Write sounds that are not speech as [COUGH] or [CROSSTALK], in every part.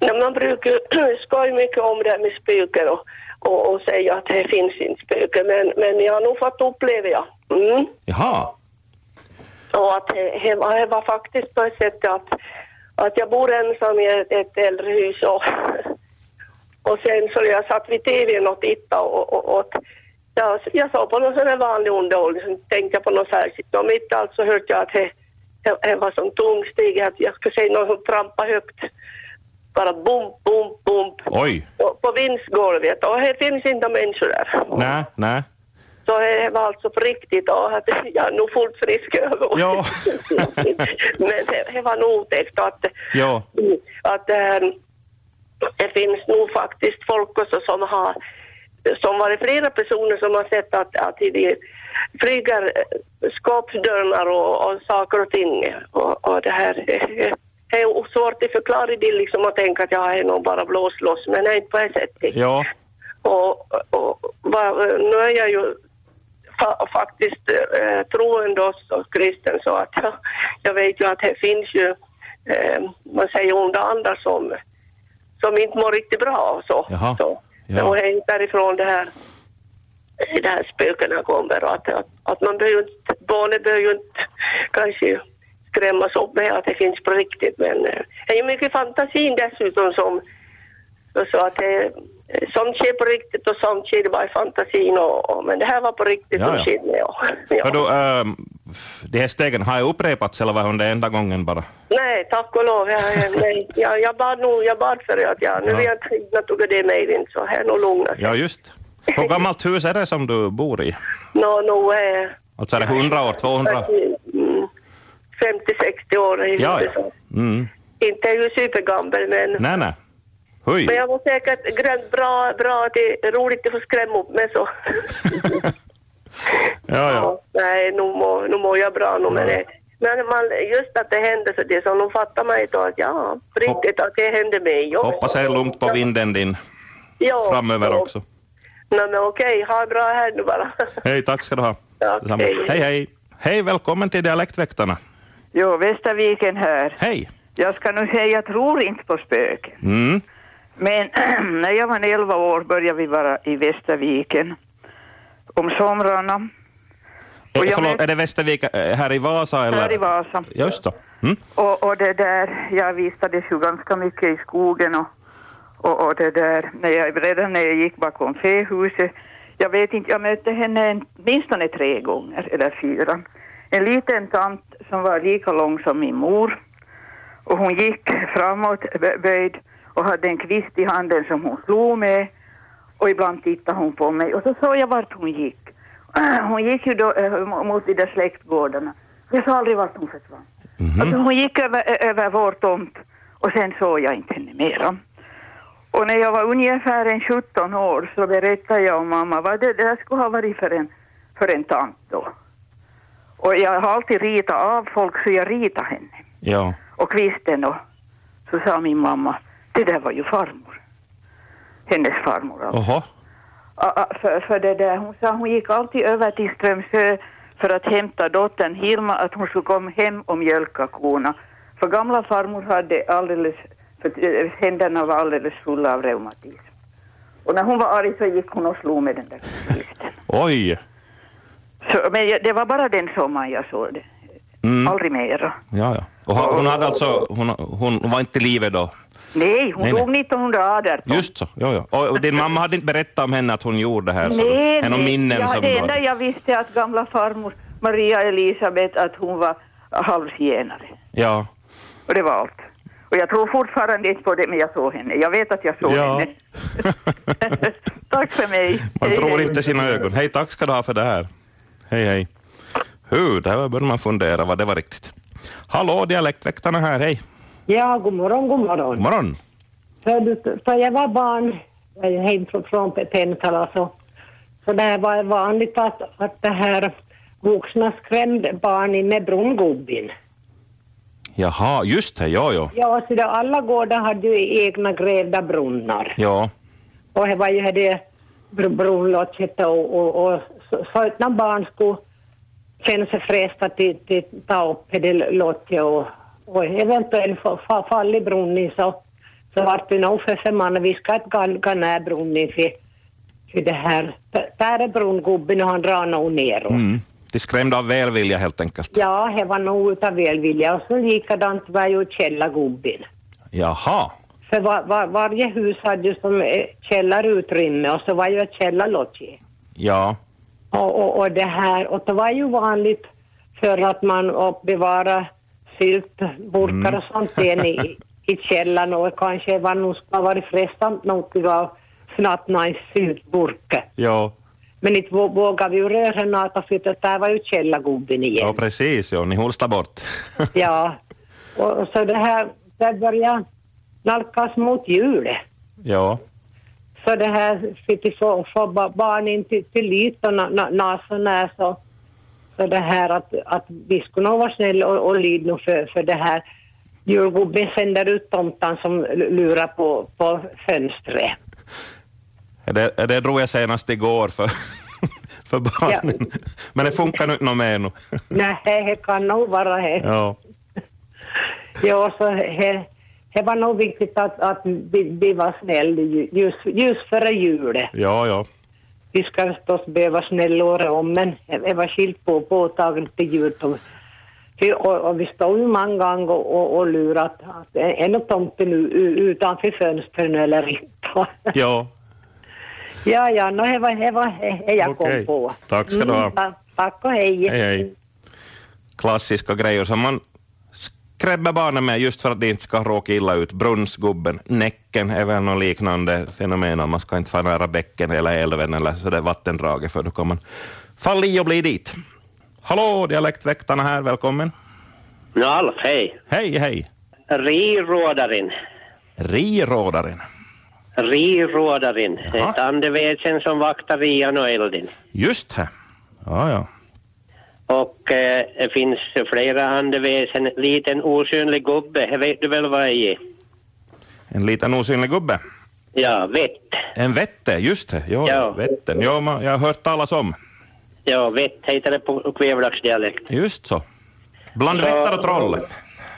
Ja, man brukar [CLEARS THROAT] ju skoja mycket om det här med spöken och, och, och säga att det finns inte spöken, men, men jag har nog fått uppleva ja. Mm. Jaha. Och att det- det var- det var faktiskt på ett sätt att, att jag bor ensam i ett, ett äldre hus och, [LAUGHS] och sen så jag satt vid tvn och tittade och, och, och jag, jag såg på någon sån här vanlig underhållning, sen tänkte jag på något särskilt och mitt i allt så hörde jag att det, det, det var sån tung stig att jag skulle säga någon som trampade högt. Bara bump, bump, bump Oj. på- på vindsgolvet och det finns inte människor där. Nej, nej. Så det var alltså på riktigt och att [LAUGHS] jag är nog fullt frisk [LAUGHS] över. Ja. [LAUGHS] Men det, det var nog otäckt att, Ja. att ähm, det finns nog faktiskt folk också som har som varit flera personer som har sett att, att det flyger eh, skåpsdörrar och, och saker och ting. Och, och det här eh, det är svårt att förklara det liksom och tänka att jag är nog bara blåst loss men det är inte på det sättet. Ja. Och, och, va, nu är jag ju fa, faktiskt eh, troende också och kristen så att [LAUGHS] jag, jag vet ju att det finns ju, eh, man säger onda andar som, som inte mår riktigt bra och så. Jaha. så. Ja. Och det är inte därifrån det här, det här spökena kommer och att, att, att man behöver ju inte, barnen behöver ju inte kanske skrämmas upp med att det finns på riktigt men eh, det är ju mycket fantasin dessutom som och så att det, sånt sker på riktigt och sånt sker bara i fantasin. Och, och, men det här var på riktigt Ja, som ja. skedde. Ja. Ja. Hördu, ähm, de här stegen, har jag upprepats eller var det den enda gången bara? Nej, tack och lov. Jag, eh, nej, jag, jag bad nog, jag bad för det att jag, nu Ja. vet jag inte tog det mejlen så här är nog lugnare. Ja, just. Hur gammalt hus är det som du bor i? Nå, nog eh, Alltså är det 100 år, 200? mm, 50-60 år. är Ja, det ja. så. Mm. Inte är ju supergammal men Nej, nej. Oj. Men jag var säkert grönt bra, bra, det är roligt att få skrämma upp mig [LAUGHS] så. Ja, ja. nej, nu mår, nu mår jag bra nu men, det- men man, just att det hände så det som de fattar mig då att ja, på riktigt att det hände mig. Ja. Hoppas det är lugnt på vinden din ja, framöver ja. också. Nej men okej, ha det bra här nu bara. Hej, tack ska du ha. Ja, Detsamma. hej. Hej, hej. Hej, välkommen till Dialektväktarna. Jo, Västerviken här. Hej. Jag ska nu säga, jag tror inte på spöken. Mm. Men [CLEARS THROAT] när jag var 11 år började vi vara i Västerviken om somrarna. Eh, jag Förlåt, mötte- är det Västervik eh, här i Vasa? Eller? Här i Vasa. Just det. Mm. Och, och det där, jag vistades ju ganska mycket i skogen och, och, och det där, när jag, redan när jag gick bakom fähuset, jag vet inte, jag mötte henne en- åtminstone tre gånger, eller fyra. En liten tant som var lika lång som min mor och hon gick framåt bö- böjd och hade en kvist i handen som hon slog med och ibland tittade hon på mig och så såg jag vart hon gick. [CLEARS THROAT] Hon gick ju då eh, mot de där släktgårdarna. Jag såg aldrig vart hon försvann. Alltså hon gick över, ö- över vår tomt och sen såg jag inte henne mera. Och när jag var ungefär en 17 år så berättade jag om mamma vad det där skulle ha varit för en, för en tant då. Och jag har alltid ritat av folk så jag ritar henne. Ja. Och kvisten och så sa min mamma, det där var ju farmor. Hennes farmor alltså. Oho. Ja, ja, för, för det där. Hon sa hon gick alltid över till Strömsö för att hämta dottern Hilma att hon skulle komma hem och mjölka korna. För gamla farmor hade alldeles, för eh, händerna var alldeles fulla av reumatism. Och när hon var arg så gick hon och slog med den där kvisten. Oj. Så, men jag, det var bara den sommaren jag såg det. Mm. Aldrig mera. Ja, ja. Och ha- hon, hade alltså, hon, hon var inte i livet då? Nej, hon Nej, nej. dog 1918. Just så. Ja, ja. Och och din mamma hade inte berättat om henne att hon gjorde det här? så du- Nej, är någon minnen ja, som det du enda har? jag visste är att gamla farmor Maria Elisabet att hon var halvzigenare. Ja. Och det var allt. Och jag tror fortfarande inte på det, men jag såg henne. Jag vet att jag såg Ja. henne. Tack för mig. Man Hej, tror hej. inte sina ögon. Hej, tack ska du ha för det här. Hej, hej. Hur, där börjar man fundera vad det var riktigt. Hallå, dialektväktarna här, hej. Ja, god morgon, god God morgon. morgon. För, du- för jag var barn jag är hem från, från Pentala så, alltså. så där var det vanligt att, att det här vuxna skrämde barnen med brungubbin. Jaha, just det, ja, ja. Ja, så det, alla gårdar hade ju egna grävda brunnar. Ja, Och det var ju det br- brunnlotset och, och, och så, så att när barn skulle känna sig fresta till, till ta upp det lottet och, och eventuellt fa- fa- falla i brunnen så, så vart vi nog för femman och vi ska ganska nära brunnen för, för det här. T- Där är brunngubben och han drar nog neråt. Mm. De skrämde av välvilja helt enkelt. Ja, det var nog utav välvilja och så likadant var ju källargubben. Jaha. För var, var, varje hus hade ju som eh, källarutrymme och så var ju ett källarloggi. Ja. Och, och, och det här, och det var ju vanligt för att man och bevara syltburkar och sånt igen i, i källaren och kanske var nog skulle ha varit frestande något av snattnajs syltburk. Ja. Men inte vå- vågade vi ju röra nata för det där var ju [LAUGHS] källargubben igen. ja, precis. Ja. Ni holstade bort. Ja, och och så det här, det började nalkas mot jul. ja. Så det här, för att få, få ba- barn in till, till ytorna na, na, så när så, så det här att, att vi skulle nog vara snälla och, och lyda nu för, för det här. Julgubben sänder ut tomtan som l- lurar på, på fönstret. Det, det drog jag senast igår för, [LAUGHS] för barnen. Men det funkar nu inte något mer nu. Nej, det kan nog vara det. Ja. Ja, så det, det var nog viktigt att, att vi, vi var snälla ju- just, just före julen. Ja, ja. Vi ska förstås behöva snälla året om, men det var skilt på påtagligt till jultomten. Och, och vi stod ju många gånger och, och, och lurade att, att är är nog tomten u- u- utanför fönstren eller [LAUGHS] inte. ja. ja, ja, no, det var det var, det jag Okej. kom på. Tack ska du ha. Mm, ta- tack och hej. Hej, hej. Klassiska grejer som man skrämmer barnen med just för att de inte ska råka illa ut. Brunnsgubben, Näcken är väl något liknande fenomen. Man ska inte vara nära bäcken eller älven eller så där vattendraget för då kommer man falla i och bli dit. Hallå, dialektväktarna här, välkommen. No Alf, hej. Hej, hej. Rirådaren. Rirådaren. Rirådaren. Jaha. Ett andeväsen som vaktar rian och elden. Just här. Ja, ja. Och eh, det finns flera andeväsen. Liten osynlig gubbe, det vet du väl vad det är? En liten osynlig gubbe. Ja, vett. En vätte, just det. Jo, Ja. Vätten. Jo, man, jag har hört talas om. Ja, vett heter det på kvävlaxdialekt. Just så. Bland Ja. vättar och troll.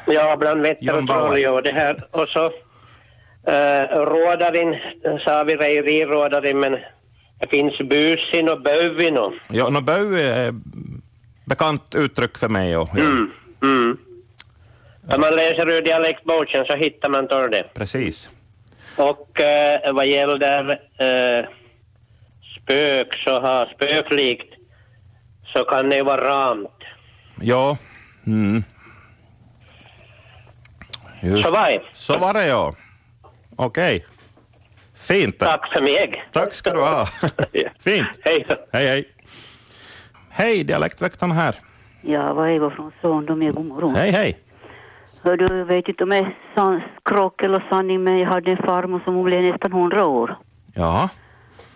Ja, bland vetter John och Bauer. troll, ja, det här. Och så eh, rådaren, sa vi rej, rirådaren, men det finns busin och bövin och... Ja, no, böj är eh, bekant uttryck för mig. Och, ja, Mm, mm. Om man läser ur dialektboken så hittar man tar det. Precis. Och eh, vad gäller eh, spök så har spöklikt så kan det vara ramt. Ja. Mm. Just. Så var det. Så var det, ja. Okej. Fint. Tack för mig. Tack ska du ha. [LAUGHS] Fint. Hej. Hej, hej. Hej, dialektväktaren här. Ja, vad Eva från Sondom, ja, god morgon. Hej, hej. Hör du, jag vet inte om det är sans, krock eller sanning, men jag hade en farmor som hon blev nästan 100 år. Ja.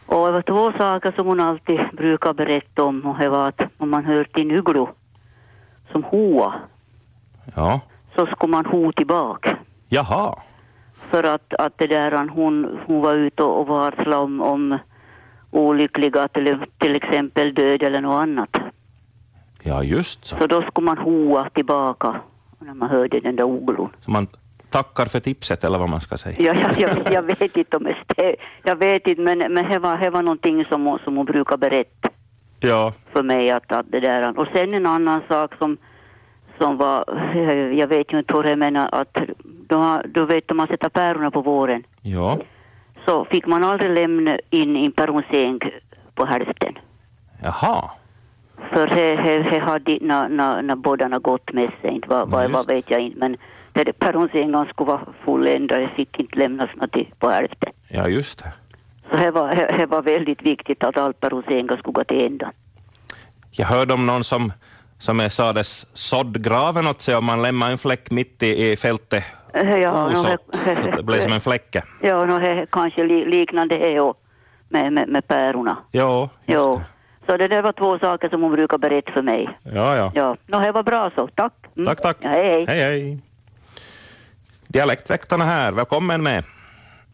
Och det var två saker som hon alltid brukar berätta om och det var att om man hör till Nuglo som hoa Ja. så ska man ho tillbaka. Jaha. För att, att det där hon, hon var ute och varslade om, om olyckliga till, till exempel död eller något annat. Ja, just så. Så då ska man hoa tillbaka när man hörde den där oglon. Så man tackar för tipset, eller vad man ska säga. Ja, jag, [LAUGHS] jag, jag vet inte om det stämmer. Jag vet inte, men, men det var, det var någonting som hon, som hon brukar berätta Ja. för mig att, att det där. Och sen en annan sak som, som var, jag vet ju inte hur jag menar, att då, har- då vet om man sätter päronen på våren Ja. så fick man aldrig lämna in en päronsäng på hälften. Jaha. För det- det det hade när, när, när bådarna gått med sig, inte vad, Ja, vad, just. vad vet jag inte, men det där päronsängen skulle vara fulländad, det fick inte lämnas något i- på hälften. Ja, just det. Så det var, det- det var väldigt viktigt att allt Rosenga skulle gå till ända. Jag hörde om någon som, som är sades sådd graven åt sig om man lämnar en fläck mitt i, i fältet Eh, Ja, nå, osått, he- så att det blir som en fläcke. Ja, no, he, kanske li, liknande det också med, med, med pärorna. Ja, just Jo. det. Så det där var två saker som hon brukar berätta för mig. Ja, ja. Ja, no, det var bra så. Tack. Mm. Tack, tack. Ja, hej, hej. hej, hej. Dialektväktarna här, välkommen med.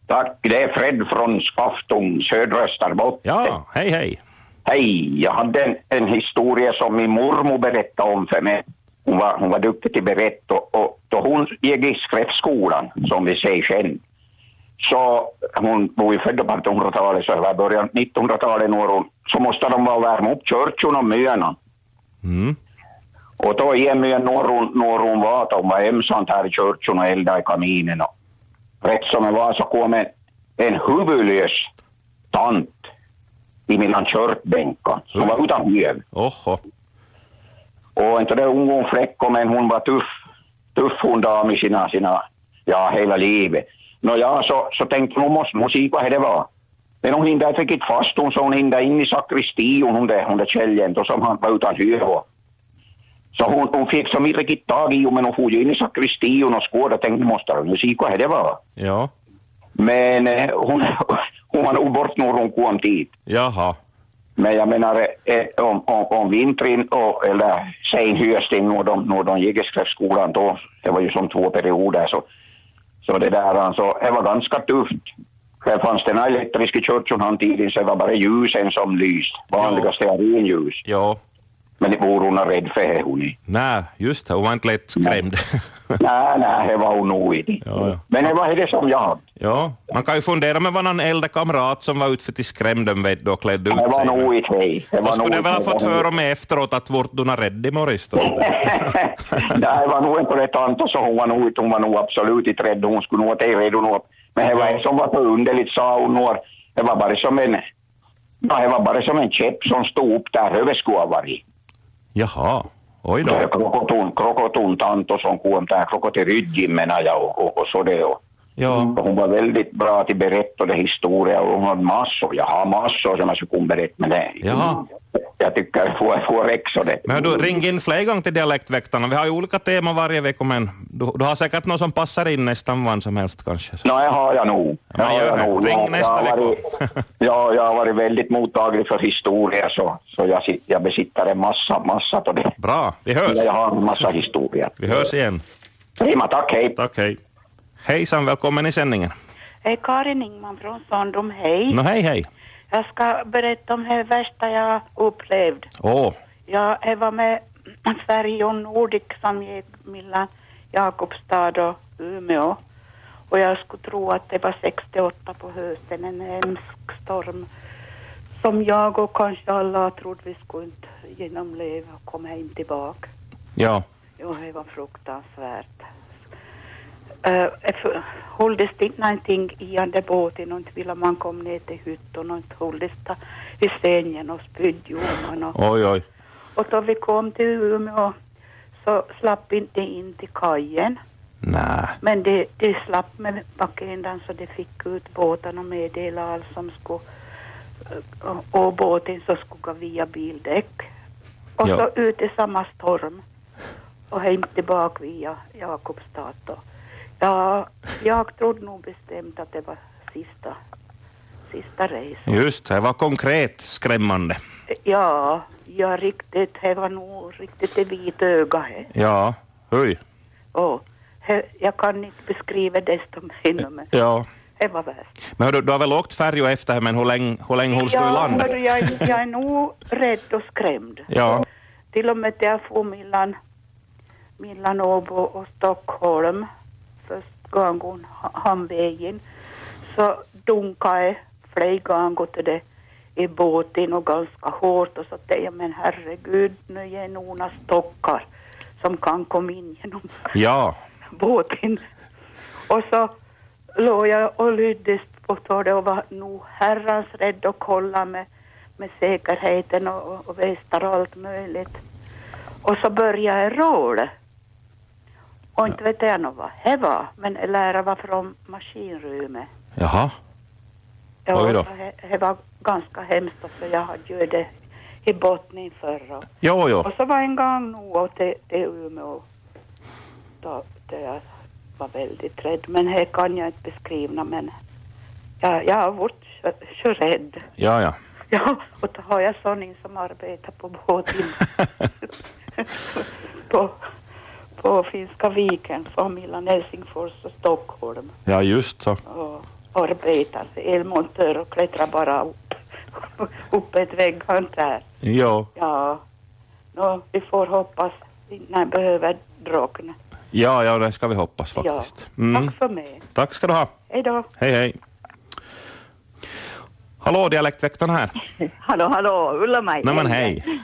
Tack, det är Fred från Skaftung, södra Österbotten. Ja, hej, hej. Hej, jag hade en, en historia som min mormor berättade om för mig. Hon var, hon var duktig till att berätta och, och då hon gick i skräffskolan, som vi säger sen, så hon var ju född på 1800-talet, så här början 1900-talet når hon, så måste de vara värma upp kyrkan och myarna. Mm. Och då i myn når hon, når hon var, att hon var ensamt här i kyrkan och eldade i kaminen. Och rätt som det var så kom en, en huvudlös tant emellan kyrkbänken, som var utan huvud. Oho. Och inte det hon var fräck, men hon var tuff. Tuff hon dam i sina, sina, ja hela livet. Nå ja, så, så tänkte hon, måste hon se vad det var. Men hon hindrade, fick inte fast hon, så hon hindrade in i sakristian, hon där, hon där käljen, då som han var utan hyra. Så hon, hon fick som inte riktigt tag i hon, men hon for ju in i sakristian och skådade och tänkte, måste hon ju se vad det var. Ja. Men eh, hon, [LAUGHS] hon var nog bort när hon kom dit. Jaha. Men jag menar eh, om, om, om vintern och, eller sen hösten när de, när de gick i skräpskolan då, det var ju som två perioder så, så det där alltså, det var ganska tufft. Det fanns den här elektriska kyrkan han tiden så det var bara ljusen som lyste, vanliga stearinljus. Ja. Men det vore hon rädd för det hon är. Nej, just det. Hon var inte lätt skrämd. Nej, nej, det var hon nog inte. Ja, ja. Men det var det som jag hade. ja. Man kan ju fundera med vad någon äldre kamrat som var ute för att skrämma dem vet du, och klädde ut Det var sig. nog inte det. Det Då var nog skulle du väl ha inte- fått höra med efteråt att vart du är rädd i morgon då. [LAUGHS] Nej, det var nog inte rätt antal så hon var nog, hon var nog absolut inte rädd. Hon skulle nog inte redo nog. Men det var en som var för underligt sa hon nog. Det var bara som en, no, det var bara som en käpp som stod upp där överskåvar i. Jaha. Oj Det är då. krokotun, krokotuntanto som kom där, krokotirydjin menar jag och, och, och så det. Och. Ja. Och Hon var väldigt bra till berättade historia och hon hade massor, jag har massor som jag skulle kunna berätta men det, Jaha. jag tycker det får, får räcka så det. Men du, ring in fler gånger till Dialektväktarna. Vi har ju olika teman varje vecka, men du, du har säkert något som passar in nästan vad som helst kanske. Så. Nej, har jag nog. men har gör jag det. nog. Ring Jag- nästa jag har vecka. varit- ja, jag har varit väldigt mottaglig för historia, så, så jag, sit- jag besitter en massa, massa av det. Bra, vi hörs. Jag har en massa historia. Vi hörs igen. Prima, tack, hej. Tack, hej. Hejsan, välkommen i sändningen. Hej, Karin Ingman från Sondom, hej. Nå, hej, hej. Jag ska berätta om det värsta jag upplevt. Åh, Jag var med Sverige och Nordic som gick mellan Jakobstad och Umeå. Och jag skulle tro att det var 68 på hösten, en hemsk storm som jag och kanske alla trodde vi skulle inte genomleva och komma hem tillbaka. ja. Jo, det var fruktansvärt. Uh, hålldes det inte någonting i den där båten och inte ville man komma ner till hyttan och inte hålldes det i sängen och spydde jorden och, Oj, oj. och då vi kom till Umeå så slapp inte in till kajen Nej. men de, de slapp med backendan så de fick ut båten och meddela allt som skulle eh, och, och båten så skulle gå via bildäck och Ja. så ut i samma storm och hem tillbaka via Jakobstad då. Ja, jag trodde nog bestämt att det var sista, sista resan. Just det, var konkret skrämmande. Ja, ja riktigt, det var nog riktigt det vita ögat. här. Ja, hej. Och he- jag kan inte beskriva desto mer, men Ja. det var värst. Men hördu, du har väl åkt färja efter här, men hur länge, hur länge hålls du i land? hördu, jag, är- jag är nog rädd och skrämd. Ja, Till och med när jag for mellan, mellan Åbo och Stockholm, först gången, ha- hamnvägen, så dunkade jag flera gånger till det i båten och ganska hårt och så tänkte jag men herregud, nu är det några stockar som kan komma in genom ja. båten. Och så låg jag och lydde på torget och var nog herrans rädd och kolla med, med säkerheten och, och, och västar och allt möjligt. Och så började jag råla. Och inte vet jag nog vad det var, men läraren var från maskinrummet. Jaha. Ja, Oj då. så det- Det var ganska hemskt, för jag hade ju det i botten förra. Jo, jo. Och så var en gång nog och till, till Umeå. Då, då jag var väldigt rädd. Men här kan jag inte beskriva. Men jag, jag har varit så, så rädd. [LAUGHS] Ja, ja. Ja, och då har jag sån som arbetar på [LAUGHS] båten. [LAUGHS] på, på Finska viken. Från mellan Helsingfors och Stockholm. Ja, just så. Och arbetar. Elmontör och klättrar bara upp, [LAUGHS] upp ett vägghantverk. Jo, Ja, Nå, vi får hoppas innan jag behöver drunkna. Ja, ja, det ska vi hoppas faktiskt. Ja. Mm. Tack för mig. Tack ska du ha. Hej då. Hej, hej. Hallå, dialektväktaren här. Hallå, hallå, Ulla-Maj. Nej men hej. [LAUGHS]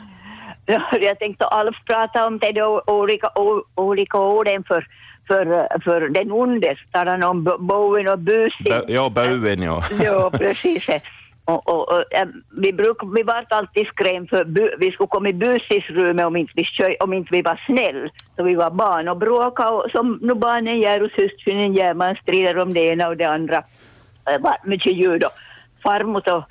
Ja, Jag tänkte Alf prata om det då, olika, o, olika orden för, för, för den onde. Talar han om bo- boven och busing. Bö- Ja, böven ja. ja, precis. Och, och, och, äm, vi, bruk, vi vart alltid skrämda för bu, vi skulle komma i busisrummet om inte, vi kö, om inte vi var snäll. Så vi var barn och bråkade och som nu barnen gör och syskonen gör, man strider om det ena och det andra. Det var mycket ljud och farmor så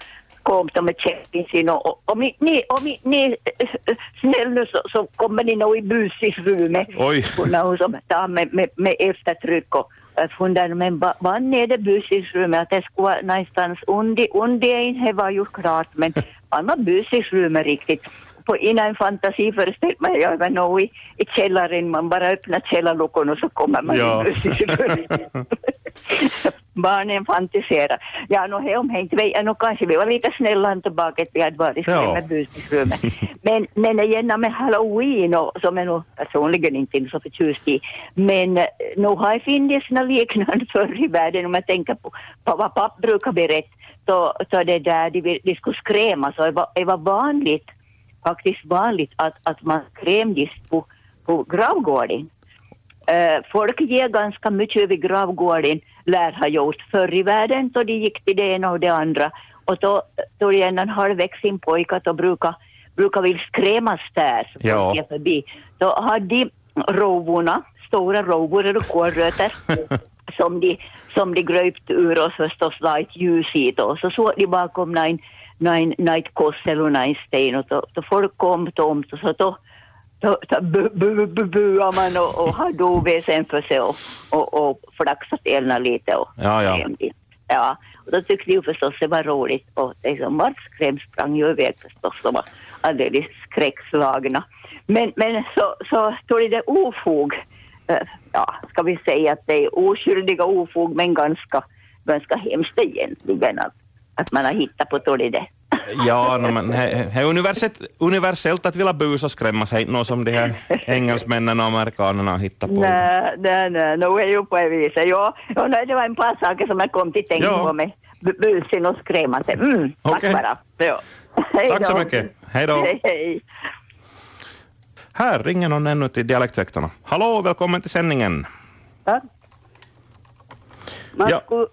kom de med käppen sin och, och om ni, ni, om ni, ni äh, äh, snäll nu så, så kommer ni nog i busisrummet. Oj. Kunde hon som ta med, med, med eftertryck och jag funderade, men Äh, va- vann är det busisrummet? Att det skulle vara någonstans undi, undi in, det var ju klart, men han var busisrummet riktigt. På innan en fantasi föreställde man jag var nog i, i källaren, man bara öppnar källarluckan och så kommer man Ja. i busisrummet. Barnen fantiserar. Ja, nå he om he inte vet, nå kanske vi var lite snälla än tillbaka att vi hade varit Ja. snälla med busisrummet. Men, men igen med halloween, och, som jag nog personligen inte så förtjust i, men eh, nu har jag funnits något [LAUGHS] liknande förr i världen om jag tänker på, på vad papp brukar berätta. Så, så det där, de, vill- de skulle skrämmas och det var, det var vanligt, faktiskt vanligt att, att man skrämdes på, på gravgården. Eh, folk ger ganska mycket över gravgården, lär ha gjort förr i världen, så de gick till det ena och det andra. Och då tog jag en halvvägs in pojke, då brukar, brukar vi skrämmas där, så Ja. folk är förbi. Då hade de rovorna, stora rovor eller kålrötter, [LAUGHS] som de, som de gröpt ur och förstås la ett ljus i då. Så såg de bakom en, en, ett kors eller en sten och då, då folk kom tomt och så då då- då bu- bu- bu- buar man och, och hade oväsen för sig och, och, och flaxat elna lite. Och, [LAUGHS] Ja, ja. skrämde. ja. Och då tyckte vi förstås det var roligt och liksom, vart skräm sprang ju iväg förstås. De var alldeles skräckslagna. Men, men så, så tog det där ofog. Eh, Ja, ska vi säga att det är oskyldiga ofog men ganska, ganska hemskt egentligen att, att man har hittat på tog det där. Ja, no, men he, he- he är universellt, universellt att vilja busa och skrämmas, hej, något som de här engelsmännen och amerikanerna har hittat på. Nej, nej, nej, nog är ju på det viset. Ja, ja nej, det var en par saker som jag kom till tänka Ja. på med bu- busen och skrämmande. Mm, tack Okej. bara. Ja. Hej Tack så då. mycket. Hej då. Hej, hej. Här ringer någon ännu till dialektväktarna. Hallå, välkommen till sändningen. Tack. Man Ja. skulle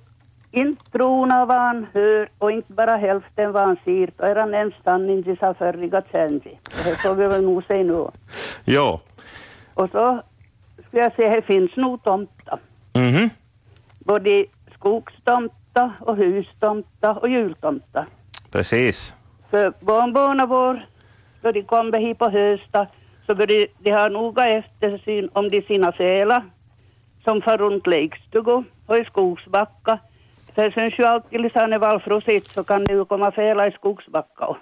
inte tro när man hör och inte bara hälften vad han ser. Då är han en sanning till sa förriga tjänzi. Det här såg jag väl nog sig nu. Jo. Och så skulle jag säga, här finns nog tomta. Mhm. Både skogstomta och hustomta och jultomta. Precis. För barnbarnen vår, då de kommer hit på hösten, så bör de, de ha noga eftersyn om de sina sälar som far runt lekstugor och i skogsbacka. För syns ju alltid liksom när valfrosigt så kan det ju komma fälar i skogsbacka. och-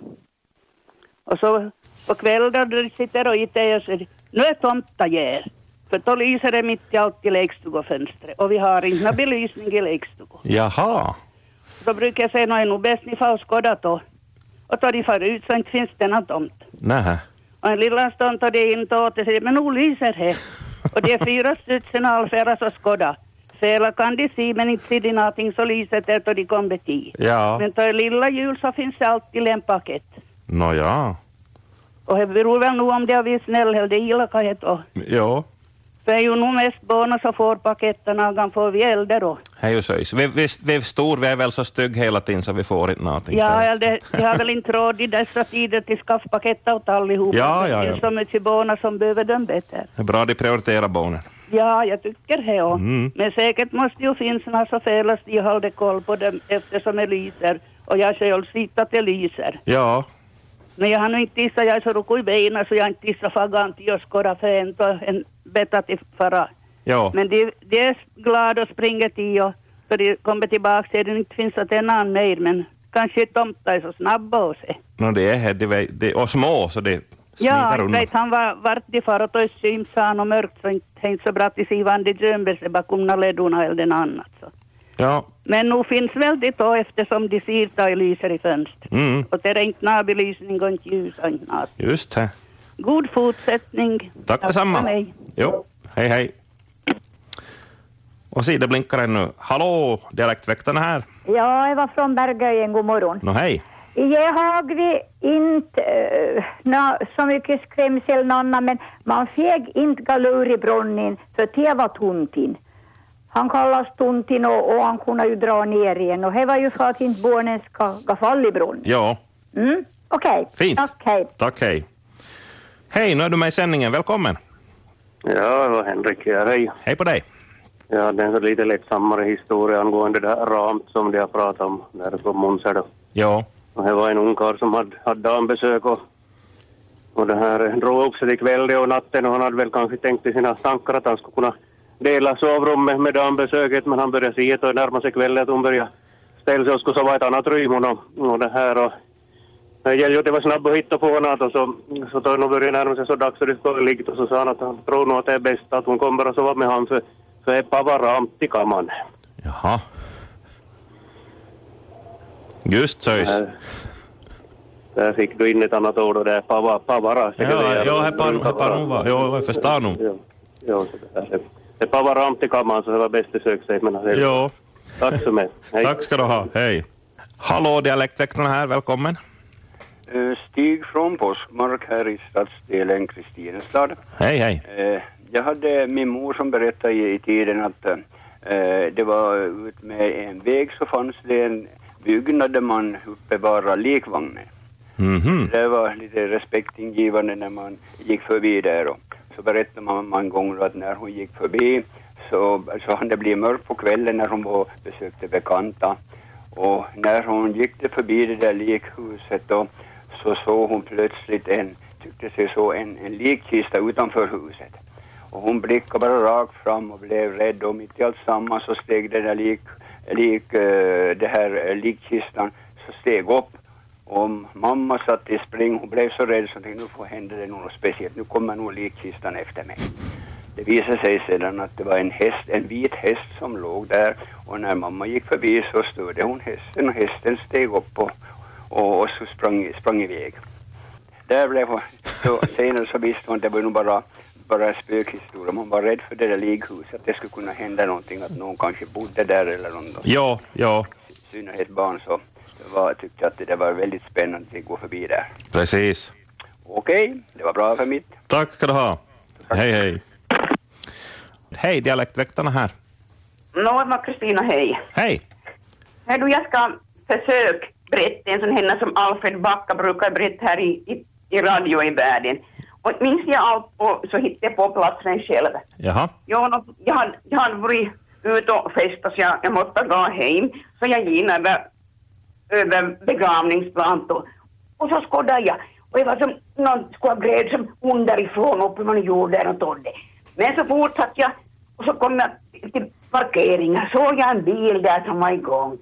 Och så på kvällar då de sitter och äter och säger nu är tomta här. För då lyser det mitt i allt i lekstugofönstret och vi har inte någon belysning i lekstugan. Jaha. Så brukar jag säga, nå är nog bäst ni får skåda då. Och tar de far ut så inte finns det någon tomt. Nähä. Och en lilla stund tar de in då och säger, men nu lyser det. Och det är fyra stycken allfära så skåda. Fela kan de se, men inte ser de någonting så lyser det och de kommer till. Ja. Men tar lilla jul så finns det alltid en paket. Nåja. Och det beror väl nog om det är vi snäll eller det är elakhet då. Jo. För det är ju nog mest barnen som får paketerna, de får vi äldre då. Hej och söjs. Vi, vi, vi är stor, vi är väl så stygg hela tiden så vi får inte någonting. Ja, ja, det, jag har väl inte råd i dessa tider till skaffpaket åt allihopa. Ja, ja, ja. Det är så mycket barn som behöver dem bättre. Det är bra de prioriterar barnen. Ja, jag tycker det också. Mm. Men säkert måste ju finnas några så fel att de håller koll på dem eftersom det lyser. Och jag själv sitter att det lyser. Ja. Men jag har nu inte tissat, jag är så ruko i benen så jag har inte tissat fagan till jag skådar för en, to- en bättre till fara. Jo. Men de, de är glada och springer till och för de kommer tillbaka ser det inte finns att en annan mer men kanske tomtar är så snabba och se. No, det är här, de, vä- de, och små så det Ja, smiter jag undan. vet han var, vart de far och tog symt sa han och mörkt så inte det är inte så bra att se vad de gömmer sig bakom några ledorna eller den annat. Så. Ja. Men nog finns väl det då eftersom de ser att det lyser i fönstret. Mm. Och det är inte någon belysning och inte ljus och inte något. Just det. God fortsättning. Tack detsamma. för mig. Jo. Hej hej. Och se, det blinkar ännu. Hallå, dialektväktarna här. Ja, jag var från Bergöjen, god morgon. Nå hej. Jag har vi inte eh, nå, så mycket skrämsel någon annan, men man fick inte galur i bronnen för det var Tuntin. Han kallas Tuntin och, och han kunde ju dra ner igen och det var ju för att inte barnen ska, ska falla i brunnen. Ja, Mm, okej. Fint. Tack, hej. tack hej. Hej, nu är du med i sändningen. Välkommen. Ja, det var Henrik här. Hej. Hej på dig. Ja, det är en så lite lättsammare historia angående det här ramt som de har pratat om där på Munse då. Ja. Och det var en ungkarl som hade, hade dambesök och, och det här eh, drog upp sig till kväll det och natten och han hade väl kanske tänkt i sina tankar att han skulle kunna dela sovrummet med dambesöket men han började se att det närmade sig kvällen att hon började ställa sig och skulle sova i ett annat rum och, nå- och det här och det gällde ju att det var snabb att hitta på annat och så, så då hon började närma sig så dags så det skulle ligga och så sa han att han tror nog att det är bäst att hon kommer att sova med han för, för det är pavaramt i kammaren. Jaha. Just söis. Där- Där fick du in ett annat ord och det är pava, pavara. Ja, ja, här på- här på Nova. Ja, jag förstår nog. Ja, så det här är- det är pavaramt i kammaren så det var bäst att söka sig. Men det är- Ja. Tack så mycket. Hej. Tack ska du ha. Hej. Hallå, dialektväktarna här. Välkommen. Eh, Stig från Påskmark här i stadsdelen Kristinestad. Hej, hej. Eh, Jag hade min mor som berättade i i tiden att eh, det var ut med en väg så fanns det en byggnad där man bevarade likvagnen. Mhm. Det var lite respektingivande när man gick förbi där. Och så berättade mamma en gång att när hon gick förbi så, så hann det bli mörkt på kvällen när hon var, besökte bekanta. Och när hon gick det förbi det där likhuset då, så såg hon plötsligt en, tyckte sig så en, en likkista utanför huset. Och hon blickade bara rakt fram och blev rädd och mitt i allt samman så steg den där lik, lik, eh, det här eh, likkistan så steg upp och mamma satt i spring, hon blev så rädd så hon tänkte nu får hända det något speciellt, nu kommer nog likkistan efter mig. Det visade sig sedan att det var en häst, en vit häst som låg där och när mamma gick förbi så störde hon hästen och hästen steg upp och, och, och så sprang, sprang iväg. Där blev hon, så senare så visste hon att det var nog bara, bara en spökhistoria, man var rädd för det där likhuset, att det skulle kunna hända någonting, att någon kanske bodde där eller någon Ja, ja, i synnerhet barn så var, tyckte jag att det där var väldigt spännande att gå förbi där. precis. Okej, det var bra för mitt. Tack ska du ha. Hej, hej. Hej, dialektväktarna här. Nå, det var Kristina, hej. Hej. Hör du, jag ska försöka berätta en sån här som Alfred Backa brukar berätta här i, i, i radio i världen. Och minns jag allt och så hittade jag på platsen själv. Jaha. Jag, nå, jag, hade, jag hade varit ute och festat så jag, jag måste gå hem. Så jag gick in över, över begravningsplan och, och så skådade jag. Och det var som någon skulle gräv som underifrån upp från jorden och tog det. Men så fortsatte jag och så kom jag till parkeringen. Såg jag en bil där som var igång.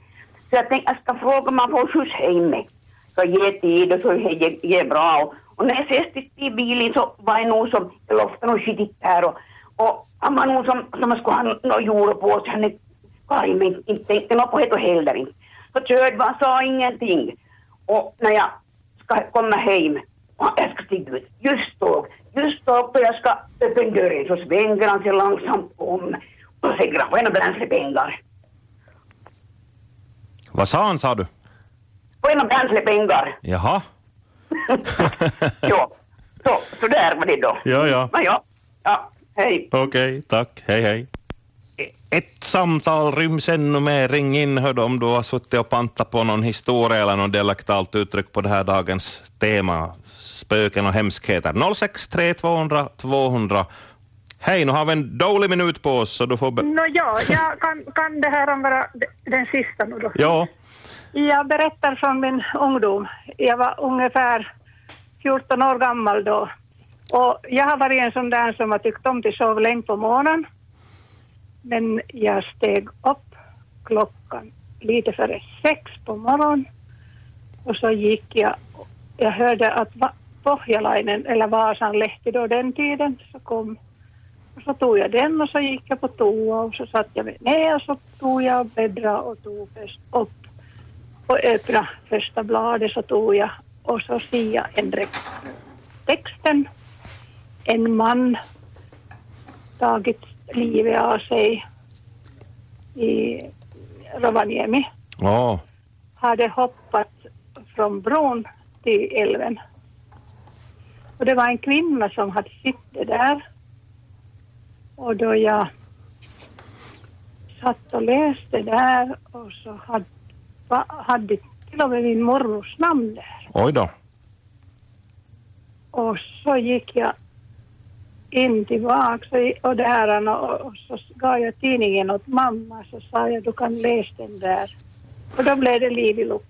Så jag tänkte jag ska fråga om man får skjuts hem mig. Så ge tid och så ge, ge bra. Och, och när jag ses i bilen så var det någon som jag luftade och skitit där och, och han var någon som, som skulle ha nå- nå jord på sig. Han är karg men inte tänkte något på det och heller inte. Så körde man, sa ingenting. Och när jag ska komma hem, och jag ska stiga ut, just då, just då då jag ska öppna dörren så svänger han sig långsamt om och säger han får jag bränslepengar. Vad sa han, sa du? Får jag bränslepengar? Jaha. [LAUGHS] ja, så, så där var det då. Ja, ja. Nå, ja. ja, hej. Okej, tack. Hej, hej. E- Ett samtal ryms ännu mer. Ring in hör du, om du har suttit och pantat på någon historia eller något dialektalt uttryck på det här dagens tema, spöken och hemskheter. 063 200 200. Hej, nu har vi en dålig minut på oss, så du får... Be- Nå ja, jag kan, kan det här om bara d- den sista nu då. Ja, Jag berättar från min ungdom. Jag var ungefär 14 år gammal då. Och jag har varit en sån där som har tyckt om att sova länge på morgonen. Men jag steg upp klockan lite före sex på morgonen. Och så gick jag. Jag hörde att Va- Pohjalainen, eller Vasanlehti då den tiden, så kom och så tog jag den och så gick jag på toa och så satt jag mig ner och så tog jag och bläddrade och tog först upp och öppnade första bladet så tog jag och så ser jag en rek- texten. En man tagit livet av sig i Rovaniemi Åh, hade hoppat från bron till älven. Och det var en kvinna som hade suttit där. Och då jag satt och läste där och så hade, va, hade till och med min mormors namn där. oj då. Och så gick jag in tillbaks och- och där och, och så gav jag tidningen åt mamma så sa jag du kan läsa den där. Och då blev det liv i luckan.